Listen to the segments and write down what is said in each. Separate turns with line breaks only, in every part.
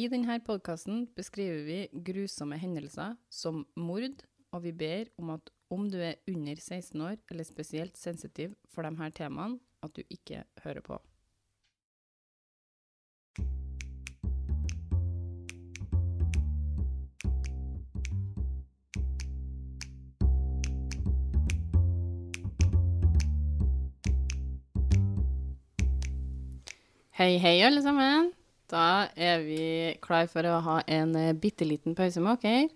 I denne podkasten beskriver vi grusomme hendelser som mord, og vi ber om at om du er under 16 år eller spesielt sensitiv for de her temaene, at du ikke hører på. Hei, hei, alle sammen. Da er vi klar for å ha en eh, bitte liten pause med dere.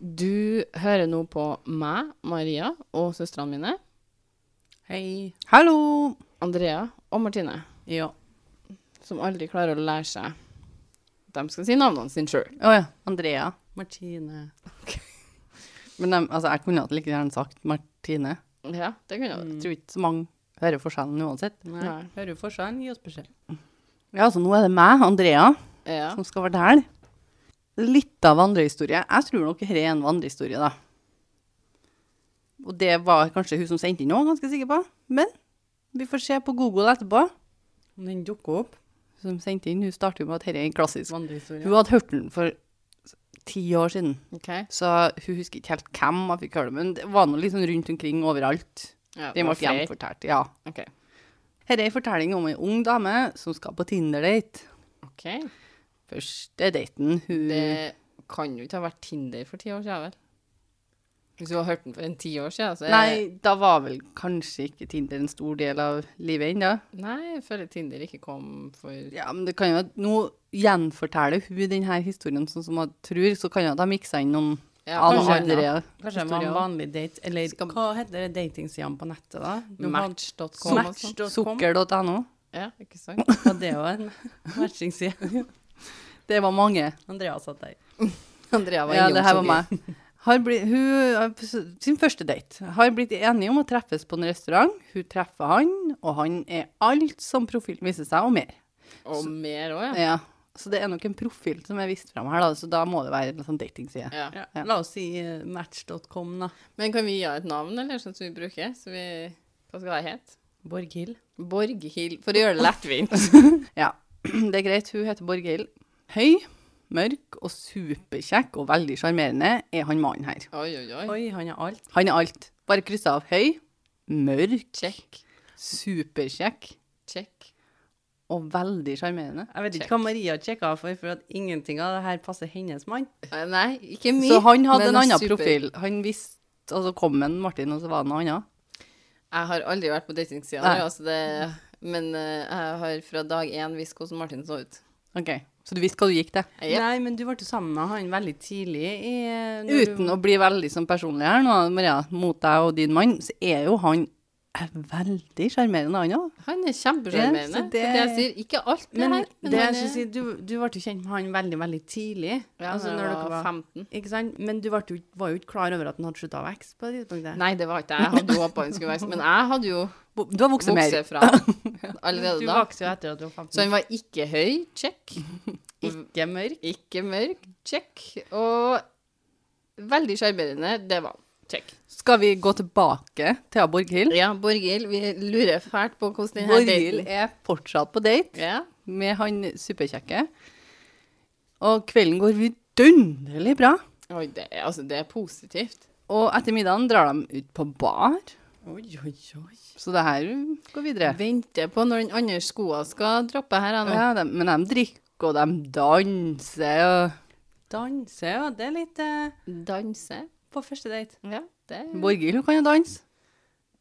Du hører nå på meg, Maria, og søstrene mine,
Hei.
Hallo!
Andrea og Martine,
Ja.
som aldri klarer å lære seg De skal si navnene sine sjøl.
Å ja, Andrea.
Martine.
Men dem- altså, jeg kunne hatt like gjerne sagt Martine.
Ja, det kunne jeg.
Jeg tror ikke så mange hører forskjellen uansett.
Nei.
Nei.
Hører du forskjellen? Gi oss beskjed.
Ja, altså nå er det meg, Andrea,
Ja.
som skal fortelle. Litt av vandrehistorie. Jeg tror nok dette er en vandrehistorie, da. Og det var kanskje hun som sendte inn òg, ganske sikker på. Men vi får se på Google etterpå.
Om den dukker opp.
Hun som sendte inn, hun starter jo med at dette er en klassisk.
Vandrehistorie.
Hun hadde hørt den for ti år siden.
OK.
Så hun husker ikke helt hvem jeg fikk høre det, men det var nå liksom rundt omkring overalt.
Ja,
Den
var
ble
flere.
gjenfortalt, ja.
OK.
Her er en fortelling om ei ung dame som skal på Tinder-date.
Ok.
Første daten hun
Det kan jo ikke ha vært Tinder for ti år siden, vel? Hvis du har hørt den for en ti år siden, så er
Nei, da var vel kanskje ikke Tinder en stor del av livet ennå.
Nei, jeg føler Tinder ikke kom for
Ja, men det kan jo at nå gjenforteller hun denne historien sånn som hun tror, så kan jo at de mikser inn noen
Ja,
andre
kanskje annet.
Kanskje det var en vanlig date, eller hva heter det datingsidene på nettet, da? Du har-
Match.com og sånn.
Match.com.
Sukker.no.
Ja, ikke sant?
Var det jo en matchingside?
Det var mange.
Andrea satt der.
Andrea var
Ja,
innom
det her
så
var
mye.
meg. Har blitt, hun, har på s- sin første date har blitt enige om å treffes på en restaurant. Hun treffer han, og han er alt som profilen viser seg, og mer.
Og mer òg, ja.
Ja, så det er nok en profil som er vist fram her, da, så da må det være en sånn datingside.
ja.
Ja. La oss si eh, match.com, da.
Men kan vi gi henne et navn, eller sånn som vi bruker? Så vi, hva skal det hete?
Borghild.
Borghild, for å gjøre det lettvint.
Ja, det er greit. Hun heter Borghild. Høy, mørk og superkjekk og veldig sjarmerende er han mannen her.
Oi, oi, oi.
Oi, han er alt.
Han er alt. Bare kryssa av høy, mørk,
Check,
superkjekk
check.
og veldig sjarmerende.
Jeg vet ikke
Check.
hva Maria sjekka for, for at ingenting av det her passer hennes mann.
Eh, Nei, ikke mye.
Så han hadde
men
en annen
super.
profil. Han visste og så kom en Martin, og så var det noe annet.
Jeg har aldri vært på datingsida,
Nei.
altså det- men eh, jeg har fra dag én visst hvordan Martin så ut.
Ok, Så du visste hva du gikk til?
Ja.
Nei, men du ble jo sammen med han veldig tidlig i eh, når du-
Uten å bli veldig sånn personlig her nå, Maria, mot deg og din mann, så er jo han eh, veldig sjarmerende, han òg.
Han er
Ja,
kjempesjarmerende.
så
Det... det
det-
er det jeg sier. Ikke alt det
Men
her, men
det
han
jeg
er-
skulle si, du, du ble jo kjent med han veldig, veldig tidlig.
ja,
altså,
når
når
jeg
dere
var
var
15.
Ikke sant? Men du ble jo, var jo ikke klar over at han hadde slutta å vokse på det tidspunktet.
Nei, det var ikke jeg. Jeg hadde jo håpa han skulle vokse, men jeg hadde jo
Du har vokst mer.
vokst fra
du
allerede da.
vokste jo etter at du var 15.
Så han var ikke høy, check.
ikke mørk.
Ikke mørk, check. Og veldig sjarmerende, det var han. Check.
Skal vi gå tilbake til Borghild?
Ja, Borghild, vi lurer fælt på hvordan den her
Borghild
daten
er fortsatt på date
ja.
med han superkjekke. Og kvelden går vidunderlig bra.
Oi, det, er- altså, det er positivt.
Og etter middagen drar de ut på bar,
Oi, oi, oi.
så det her går videre.
Venter på når den andre skoa skal droppe her. jeg, nå.
Ja, de, men de drikker, og de danser, og
Danse, ja. Det er litt eh,
Danse.
På første date.
Ja, det
Borghild hun kan jo danse.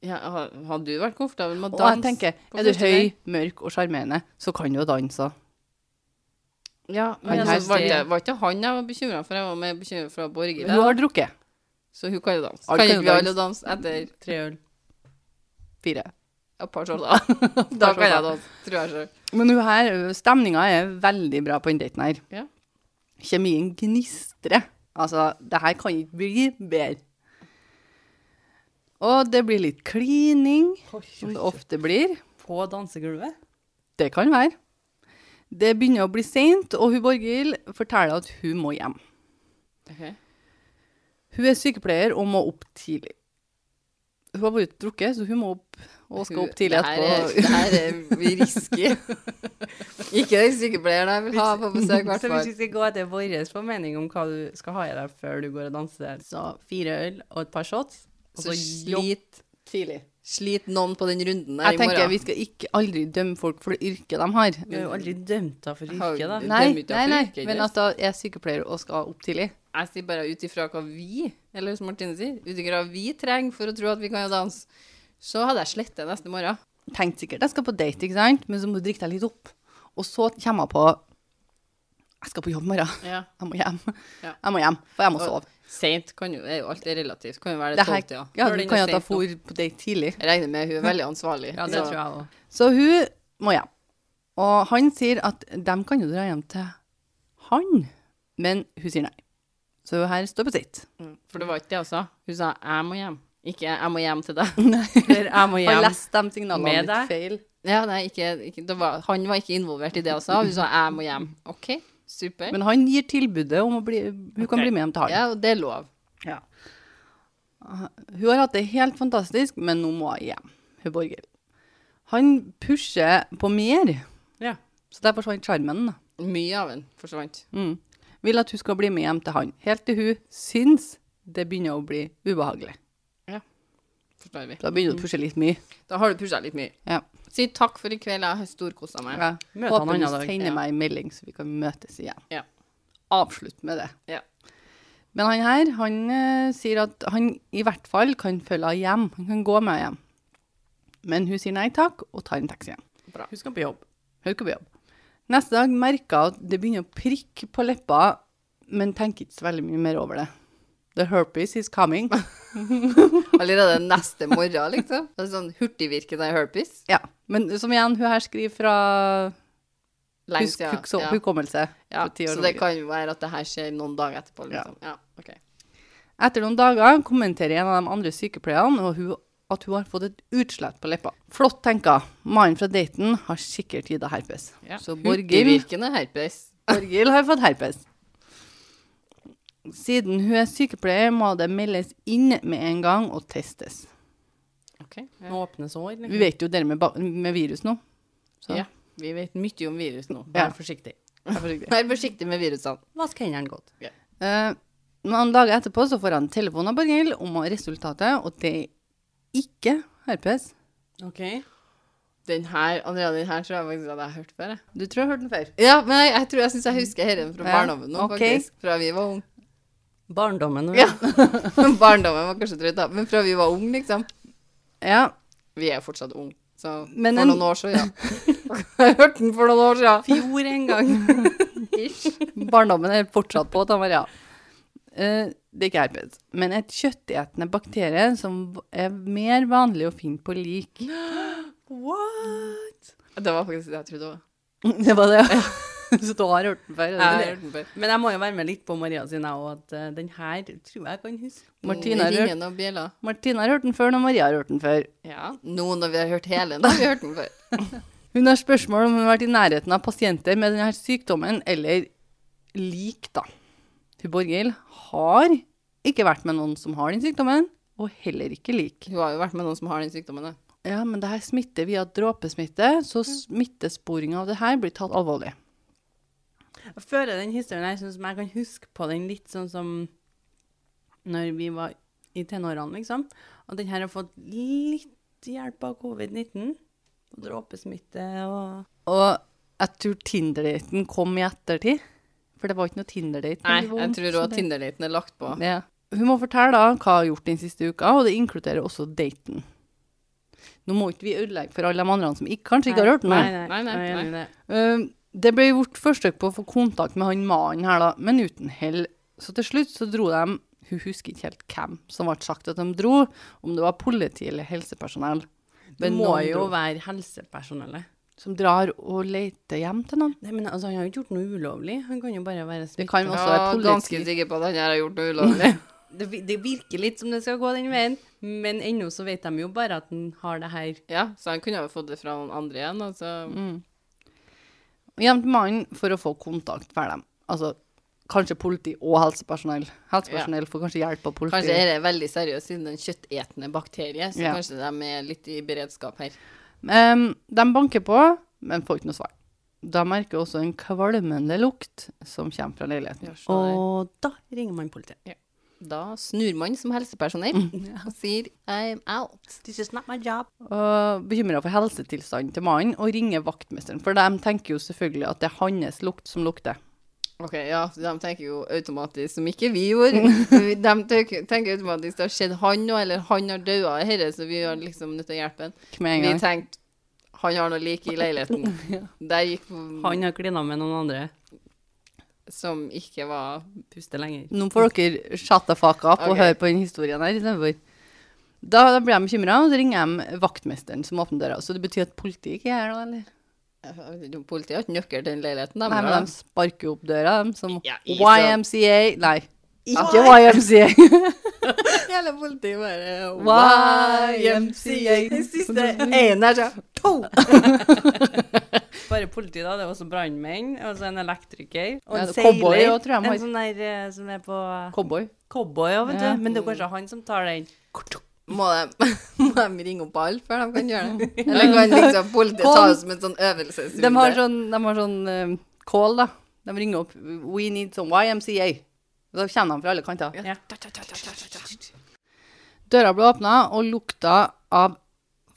ja, ha- Hadde du vært komfortabel med å
Og
danse?
jeg tenker,
på
er du
første
høy,
date?
mørk og sjarmerende, så kan du jo danse. også.
Ja, men
Han
altså,
her
var,
ser-
ikke, var ikke han jeg var bekymra for? Jeg var mer bekymra for Borghild.
Hun
da.
har drukket
Så hun kan jo danse. Kan
Alle kan
ikke
jo
vi alle danse etter
Tre øl.
fire.
et par sånne? Da, da kan jeg
sånne.
danse, tror jeg sjøl.
Men hun her, stemninga er veldig bra på den daten her.
Ja.
Kjemien gnistrer. Altså, det her kan ikke bli bedre. Og det blir litt klining, som det ofte blir.
På dansegulvet.
Det kan være. Det begynner å bli seint, og hun Borghild forteller at hun må hjem.
Ok.
Hun er sykepleier og må opp tidlig. Hun har vært drukket, så hun må opp og skal opp tidlig
Det her er-
etterpå.
Det her er vi risky. Ikke den sykepleieren jeg vil ha på besøk, i hvert
Så hvis
fall.
vi skal gå etter vår formening om hva du skal ha i deg før du går og danser, så fire øl og et par shots, og
Så
så jobb
slit,
Tidlig.
slit noen på den runden her
Jeg
i
tenker
morgen.
vi skal ikke aldri dømme folk for det yrket de har.
Du er jo aldri dømt da for yrket, da.
Har-
Nei,
dømmer ikke
nei,
for
nei,
yrket,
men at da er sykepleier og skal opp tidlig.
Jeg sier bare ut ifra hva vi, eller som Martine sier, ut ifra hva vi trenger for å tro at vi kan danse, så hadde jeg slettet neste morgen.
Tenkte sikkert jeg skal på date, ikke sant? men så må du drikke deg litt opp. Og så kommer jeg på jeg skal på jobb i morgen.
Ja.
Jeg må hjem.
Ja.
Jeg må hjem, for jeg må
Og-
sove.
Seint kan jo er jo Alt er relativt. Kan jo være det
Det her,
tolvte,
ja,
Før
du
den er
kan jo
sent
at jeg
nok.
for på date tidlig.
Jeg regner med hun er veldig ansvarlig.
Ja, det tror jeg òg.
Så hun må hjem. Og han sier at de kan jo dra hjem til han, men hun sier nei. Så hun her står på sitt.
For det var ikke det hun sa. Hun sa 'jeg må hjem', ikke 'jeg må hjem til deg'.
Eller jeg må
Har
hjem.
lest de signalene
Med
litt
deg?
feil.
Ja, nei, ikke, ikke, det var, Han var ikke involvert i det hun sa. Hun sa 'jeg må hjem'. OK, super.
Men han gir tilbudet om å bli, hun kan
Ok.
bli med hjem til han.
Ja, og det er lov.
Hun har hatt det helt fantastisk, men nå må hun hjem. Hun Borghild. Han pusher på mer,
Ja.
så der forsvant sjarmen. da.
Mye av den forsvant.
Mm. Vil at hun skal bli med hjem til han, helt til hun syns det begynner å bli ubehagelig.
Forstår vi.
Da begynner hun å pushe litt mye.
Da har du pusha litt mye.
Ja.
Si takk for i kveld, jeg har storkosa meg.
Ja.
Møt
Håper
han annen
du
dag,
sender
ja.
meg en melding, så vi kan møtes igjen.
Ja.
Avslutt med det.
Ja.
Men han her, han eh, sier at han i hvert fall kan følge henne hjem. Han kan gå med henne hjem. Men hun sier nei takk, og tar en taxi hjem.
Hun skal på jobb.
Hun skal på jobb. Neste dag merker hun at det begynner å prikke på leppa, men tenker ikke så veldig mye mer over det. The herpes is coming.
Allerede neste morgen, liksom. Det er sånn hurtigvirkende herpes.
Ja, Men som igjen, hun her skriver fra
Lenge
husk,
siden.
huk, så,
ja.
hukommelse.
Ja,
for ti år
så det
tilbake.
kan jo være at det her skjer noen dager etterpå, liksom. Ja, ok.
Etter noen dager kommenterer en av de andre sykepleierne og hun, at hun har fått et utslett på leppa. Flott tenka. Mannen fra daten har sikkert gitt henne herpes.
Ja.
Så Borghild,
Hurtigvirkende herpes.
Borghild har fått herpes. Siden hun er sykepleier, må det meldes inn med en gang og testes.
Ok.
Nå åpnes år. liksom.
Vi vet jo det med, ba- med virus nå. Så.
Ja, vi vet mye om virus nå.
Ja.
Vær forsiktig.
Vær forsiktig med virusene.
Vask hendene godt.
Eh, noen dager etterpå så får han telefon av Borghild om resultatet, og det er ikke herpes.
Ok.
Den her, Andrea, den her tror jeg faktisk at jeg har hørt før. Jeg.
Du tror jeg har hørt den før.
Ja, men jeg, jeg tror jeg syns jeg husker herren fra
Ja,
barndommen nå,
ok.
faktisk. Fra vi var ung.
Barndommen.
Ja. barndommen var kanskje drøyt, da, men fra vi var ung, liksom.
Ja,
Vi er jo fortsatt ung, så
Men
for
en-
noen år siden, ja. jeg hørte den for noen år siden.
Fjor en gang.
Barndommen er fortsatt på, da, Maria. Eh, det er ikke herpes, men et kjøttetende bakterie som er mer vanlig å finne på lik.
What?
Det var faktisk det jeg trodde òg.
Det var det. Så du har hørt den før?
Jeg har
eller?
hørt den før.
Men jeg må jo være med litt på Maria sin, jeg òg, at eh, den her tror jeg kan huske.
Martine har hørt,
Ringen og bjeller.
Martine har hørt den før, og Maria har hørt den før.
Ja. Nå når vi har hørt hele, da har vi hørt den før.
Hun har spørsmål om hun har vært i nærheten av pasienter med denne sykdommen, eller lik, da. Hun Borghild har ikke vært med noen som har den sykdommen, og heller ikke lik.
Hun har jo vært med noen som har den sykdommen, da.
Ja, men det her smitter via dråpesmitte, så smittesporinga av det her blir tatt alvorlig.
Jeg føler den historien her sånn som jeg kan huske på den litt sånn som når vi var i tenårene, liksom. At den her har fått litt hjelp av covid-19. Og dråpesmitte og
Og jeg tror Tinder-daten kom i ettertid, for det var ikke noe Tinder-date.
Nei,
men
jeg
det var vondt,
tror
så
òg
det-
Tinder-daten er lagt på.
Ja. Hun må fortelle da hva hun har gjort den siste uka, og det inkluderer også daten. Nå må ikke vi ødelegge for alle de andre som ikke, kanskje ikke har hørt den. her.
Nei, nei,
Nei, nei,
jeg er enig i det.
Eh, Det ble gjort forsøk på å få kontakt med han mannen her, da, men uten hell. Så til slutt så dro de Hun husker ikke helt hvem som ble sagt at de dro, om det var politi eller helsepersonell.
Det
Men
må
noen
jo
dro,
være helsepersonellet.
Som drar og leter hjem til noen.
Nei, men altså, Han har jo ikke gjort noe ulovlig. Han kan jo bare være
Det
smittet.
kan jo også være
Jeg var ganske
politi.
sikker på at han her har gjort noe ulovlig.
Det, vi- det virker litt som det skal gå den veien, men ennå så vet de jo bare at han har det her.
ja, så han kunne jo fått det fra noen andre igjen.
Mm.
Altså.
Hjem til mannen for å få kontakt med dem. Altså Kanskje politi og helsepersonell. Helsepersonell får kanskje hjelp av politi.
Kanskje er det veldig seriøst siden det er en kjøttetende bakterie, så
Ja.
kanskje de er litt i beredskap her.
Em, de banker på, men får ikke noe svar. De merker også en kvalmende lukt som kommer fra leiligheten.
Og da ringer man politiet.
Da snur man som helsepersonell
Mm.
og sier I'm out.
This is not my job.
Og bekymra for helsetilstanden til mannen og ringer vaktmesteren. For de tenker jo selvfølgelig at det er hans lukt som lukter.
Ok, ja, så de tenker jo automatisk, som ikke vi gjorde. Vi- De tenker tenker automatisk det har skjedd han nå, eller han har dødd av dette, så vi har liksom nødt til å hjelpe han.
Med en
Vi
gang.
tenkte han har noe lik i leiligheten. Der gikk
Han har klina med noen andre.
som ikke var
Puster lenger.
Nå får dere shut the fuck up og
Ok.
høre på den historien her istedenfor. Da, da blir de bekymra, og så ringer de vaktmesteren som åpner døra. Så det betyr at politiet ikke er her nå, eller?
Politiet har ikke nøkkel til den leiligheten.
Nei, men de sparker jo opp døra, de, som
Ja, i så-
YMCA Nei, ikke YMCA.
Hele politiet bare
YMCA.
Siste
Mm.
én der, så to! Bare politi, da. Det er også brannmenn, og så en elektriker. Og
Ja,
en
det er cowboy
seiler.
også, tror jeg,
En
Mari.
sånn der eh, som er på
Cowboy.
cowboy, ja, vet
Ja.
du. Men det er kanskje han som tar den.
Må de, må de ringe opp alle før de kan gjøre det? Eller kan liksom politiet ta det som en sånn øvelsesrunde?
De har sånn, de har sånn eh, call, da. De ringer opp We need some YMCA. Da kjenner de fra alle kanter.
Ja.
Døra ble åpna, og lukta av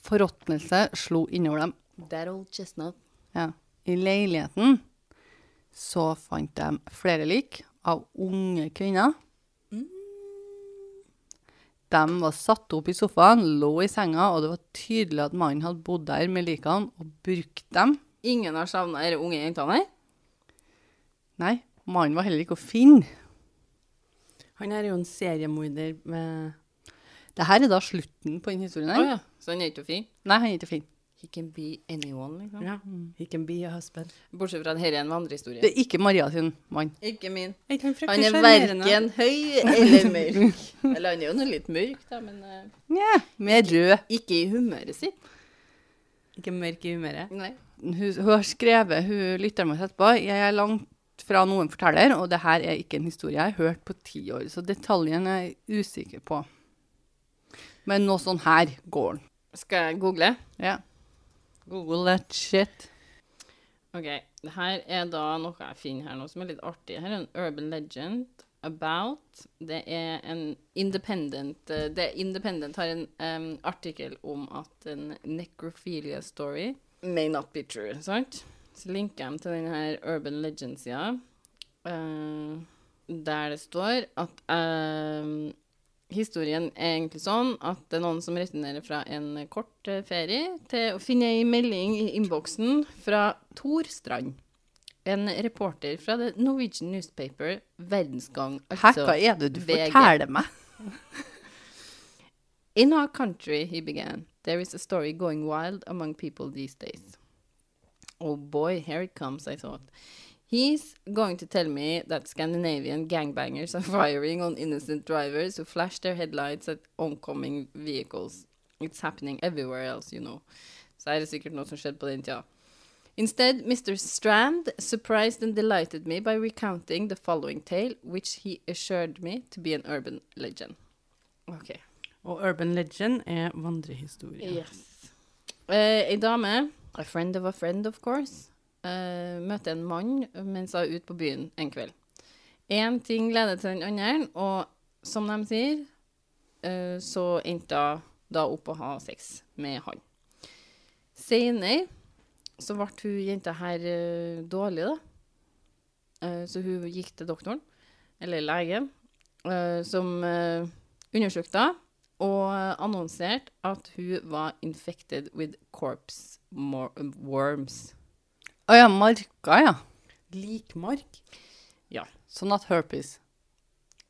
forråtnelse slo innover dem.
That old chestnut.
Ja. I leiligheten så fant de flere lik av unge kvinner. De var satt opp i sofaen, lå i senga, og det var tydelig at mannen hadde bodd der med likene og brukt dem.
Ingen har savna disse unge jentene her?
Nei, mannen var heller ikke å finne.
Han her er jo en seriemorder med
Det her er da slutten på den historien her.
Å ja. Så han er ikke fin?
Nei, han er ikke fin.
He can be anyone, liksom.
Ja. He can be a husband.
Bortsett fra at dette er en vandrehistorie.
Det er ikke Maria sin mann.
Ikke min.
Er ikke Han fryktelig
Han er
sjarmerende?
verken høy eller mørk. Eller han er jo nå litt mørk, da, men eh,
Nja, med rød.
ikke i humøret sitt.
Ikke mørk i humøret.
Nei.
Hun, hun har skrevet, hun lytter meg etterpå, jeg er langt fra noen forteller, og det her er ikke en historie jeg har hørt på ti år, så detaljene er jeg usikker på. Men noe sånn her går den.
Skal jeg google?
Ja. Google that shit.
Ok, det her er da noe jeg finner her nå som er litt artig. Her er en urban legend about Det er en independent eh, Det Independent har en em, artikkel om at en necrophilia story may not be true, sant? Så linker jeg dem til den her urban legend-sida, eh, der det står at em, Historien er egentlig sånn at det er noen som returnerer fra en kort eh, ferie til å finne ei melding i innboksen fra Tor Strand, en reporter fra The Norwegian Newspaper Verdensgang. altså.
Hæ, hva er det du
VG.
forteller meg?
In our country, he began, there is a story going wild among people these days. Oh boy, here it comes, I thought. He's going to tell me that Scandinavian gangbangers are firing on innocent drivers who flash their headlights at oncoming vehicles. It's happening everywhere else, you know. Så er det sikkert noe som skjedde på den tida. Instead, Mr. Strand surprised and delighted me by recounting the following tale, which he assured me to be an urban legend. Okay.
Og urban legend er vandrehistorie.
Yes. Eh, ei dame, a friend of a friend of course, eh, møter en mann mens hun er ute på byen en kveld. Én ting leder til den andre, og som de sier, eh, så endte hun da opp å ha sex med han. Senere så ble hun jenta her eh, dårlig, da. Eh, så hun gikk til doktoren, eller legen, eh, som eh, undersøkte henne og annonserte at hun var infected with corpse mor- worms.
Å ja, marka, ja.
Likmark.
Sånn at herpes.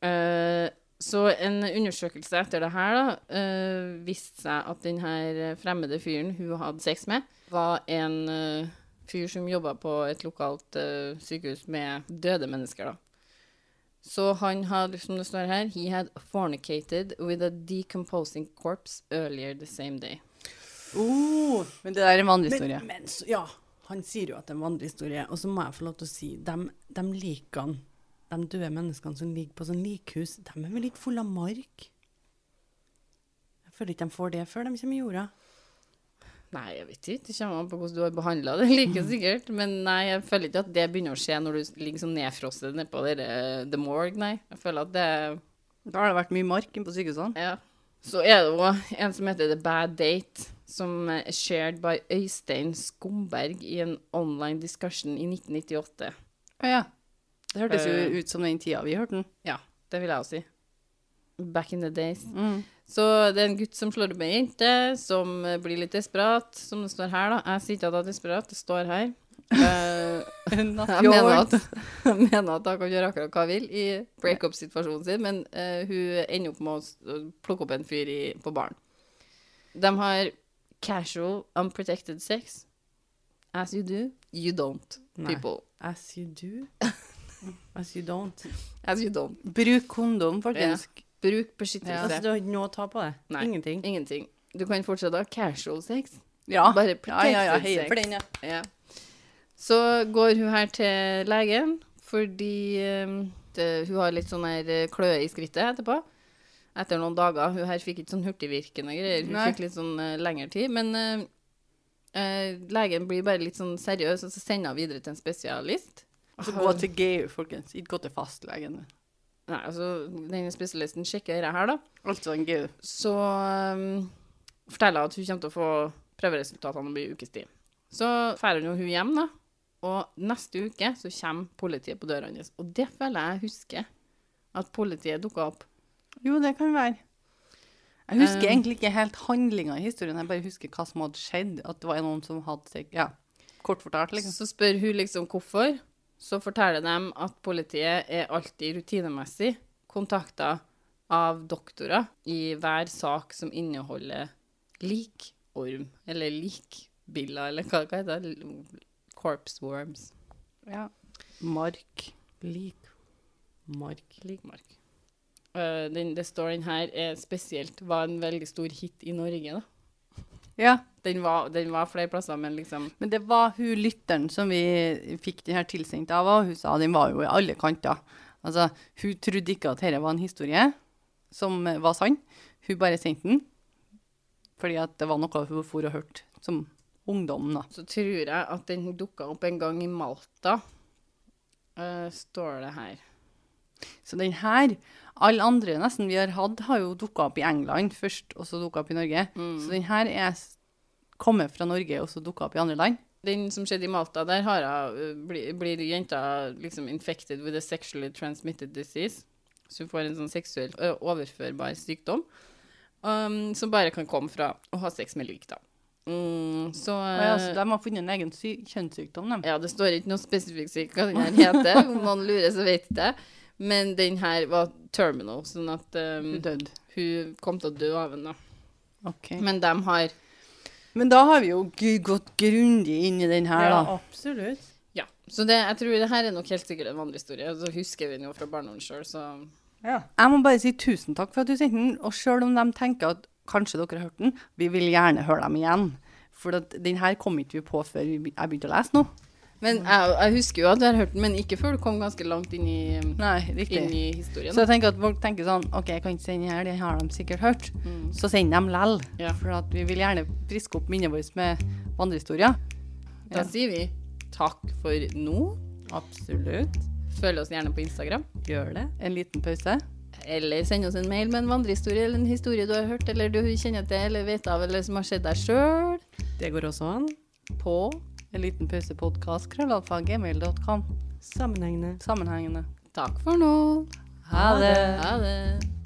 Eh, så en undersøkelse etter det her da, eh, viste seg at den her fremmede fyren hun hadde sex med, var en eh, fyr som jobba på et lokalt eh, sykehus med døde mennesker. da. Så han hadde, som det står her, he had fornicated with a decomposing corpse earlier the same day.
Oh,
Men det der er en vandrehistorie.
Men, men så- ja, han sier jo at det er en vandrehistorie, og så må jeg få lov til å si de, de likene de døde menneskene som ligger på sånn likhus, de er vel ikke fulle av mark? Jeg føler ikke de får det før de kommer i jorda.
Nei, jeg vet ikke. Det kommer an på hvordan du har behandla det, like sikkert. Men nei, jeg føler ikke at det begynner å skje når du ligger sånn nedfrosset nedpå der, eh, The Morgue, nei. Jeg føler at det
Da har det vært mye mark inne på sykehusene.
Ja. Så er det òg en som heter The Bad Date, som er shared by Øystein Skomberg i en online discussion i 1998.
Å ja. Det hørtes jo
Eh.
ut som den tida vi hørte den.
Ja, det vil jeg også si. Back in the days.
Mm.
Så det er en gutt som slår opp med ei jente, som eh, blir litt desperat, som det står her, da. Jeg sier ikke at jeg er desperat, det står her. Eh, jeg,
your
mener at,
words.
jeg mener at hun kan gjøre akkurat hva hun vil i breakup-situasjonen sin, men eh, hun ender opp med å s- å plukke opp en fyr i, på baren. De har casual, unprotected sex. As you do, you don't,
Nei.
people.
As you do, as you don't.
As you don't.
Bruk kondom, folkens.
Bruk beskyttelse.
Altså, du har ikke noe å ta på det?
Nei.
Ingenting?
Ingenting. Du kan fortsatt ha casual sex.
Ja.
Bare
Ja, ja, ja.
protected
Heier
sex.
for den, ja.
Ja. Så går hun her til legen fordi eh, det, hun har litt sånn her eh, kløe i skrittet etterpå. Etter noen dager. Hun her fikk ikke sånn hurtigvirkende greier. Hun
Nei.
fikk litt sånn eh, lengre tid. Men eh, eh, legen blir bare litt sånn seriøs, og så sender hun videre til en spesialist.
Så gå til GU, folkens. Ikke gå til fastlegen.
Nei, altså, den spesialisten sjekker dette her, da.
Altså en GU.
så um, forteller hun at hun kommer til å få prøveresultatene om en ukes tid. Så drar hun hun hjem, da. Og neste uke så kommer politiet på døra hennes. Og det føler jeg husker. At politiet dukka opp.
Jo, det kan være. Jeg husker
Um.
egentlig ikke helt handlinga i historien, jeg bare husker hva som hadde skjedd. At det var noen som hadde seg- Ja, kort fortalt, liksom.
Så spør hun liksom hvorfor. Så forteller de at politiet er alltid rutinemessig kontakta av doktorer i hver sak som inneholder likorm, eller likbiller, eller hva, hva heter det? Corpse worms.
Ja. Mark.
Lik mark.
Ligmark. Eh, den, det står den her er spesielt var en veldig stor hit i Norge, da.
Ja.
Den var, den var flere plasser, men liksom
Men det var hun lytteren som vi fikk den her tilsendt av, og hun sa den var jo i alle kanter. Altså, hun trodde ikke at dette var en historie som eh, var sann. Hun bare sendte den fordi at det var noe hun for og hørte som ungdom, da.
Så tror jeg at den dukka opp en gang i Malta, eh, står det her.
Så den her, alle andre nesten vi har hatt, har jo dukka opp i England først, og så dukka opp i Norge. Så den her er s- kommet fra Norge, og så dukka opp i andre land.
Den som skjedde i Malta, der har hun, eh, bli, blir jenta liksom infected with a sexually transmitted disease. Så hun får en sånn seksuelt ø, overførbar sykdom um, som bare kan komme fra å ha sex med lik, da. Mm, så
Og ja,
eh,
så de har funnet en egen sy kjønnssykdom, de.
Ja, det står ikke noe spesifikt sikkert hva den her heter. Om noen lurer, så vet jeg det. Men den her var terminal, sånn at um,
Hun døde.
hun kom til å dø av den. da.
Ok.
Men de har
Men da har vi jo gu- gått grundig inn i den her, da.
absolutt.
Ja. Så det, jeg tror det her er nok helt sikkert en vandrehistorie. Og så husker vi den jo fra barndommen sjøl, så
Jeg må bare si tusen takk for at du sendte den, og sjøl om de tenker at kanskje dere har hørt den, vi vil gjerne høre dem igjen. For at den her kom ikke vi på før vi be- jeg begynte å lese nå.
Men jeg, jeg husker jo at jeg har hørt den, men ikke før du kom ganske langt inn i,
Nei,
inn
riktig.
i historien.
Så jeg tenker at folk tenker sånn OK, jeg kan ikke sende den her, den har de sikkert hørt.
Mm.
Så sender de lell.
Ja.
For at vi vil gjerne friske opp minnet vårt med vandrehistorier.
Da sier vi takk for nå.
Absolutt.
Følg oss gjerne på Instagram.
Gjør det.
En liten pause.
Eller send oss en mail med en vandrehistorie eller en historie du har hørt eller du kjenner til eller vet av eller som har skjedd deg sjøl.
Det går også an.
På
En liten pause podkast. Krøllalfa, gmail.com.
Sammenhengende.
Sammenhengende.
Takk for nå.
Ha det.
Ha det.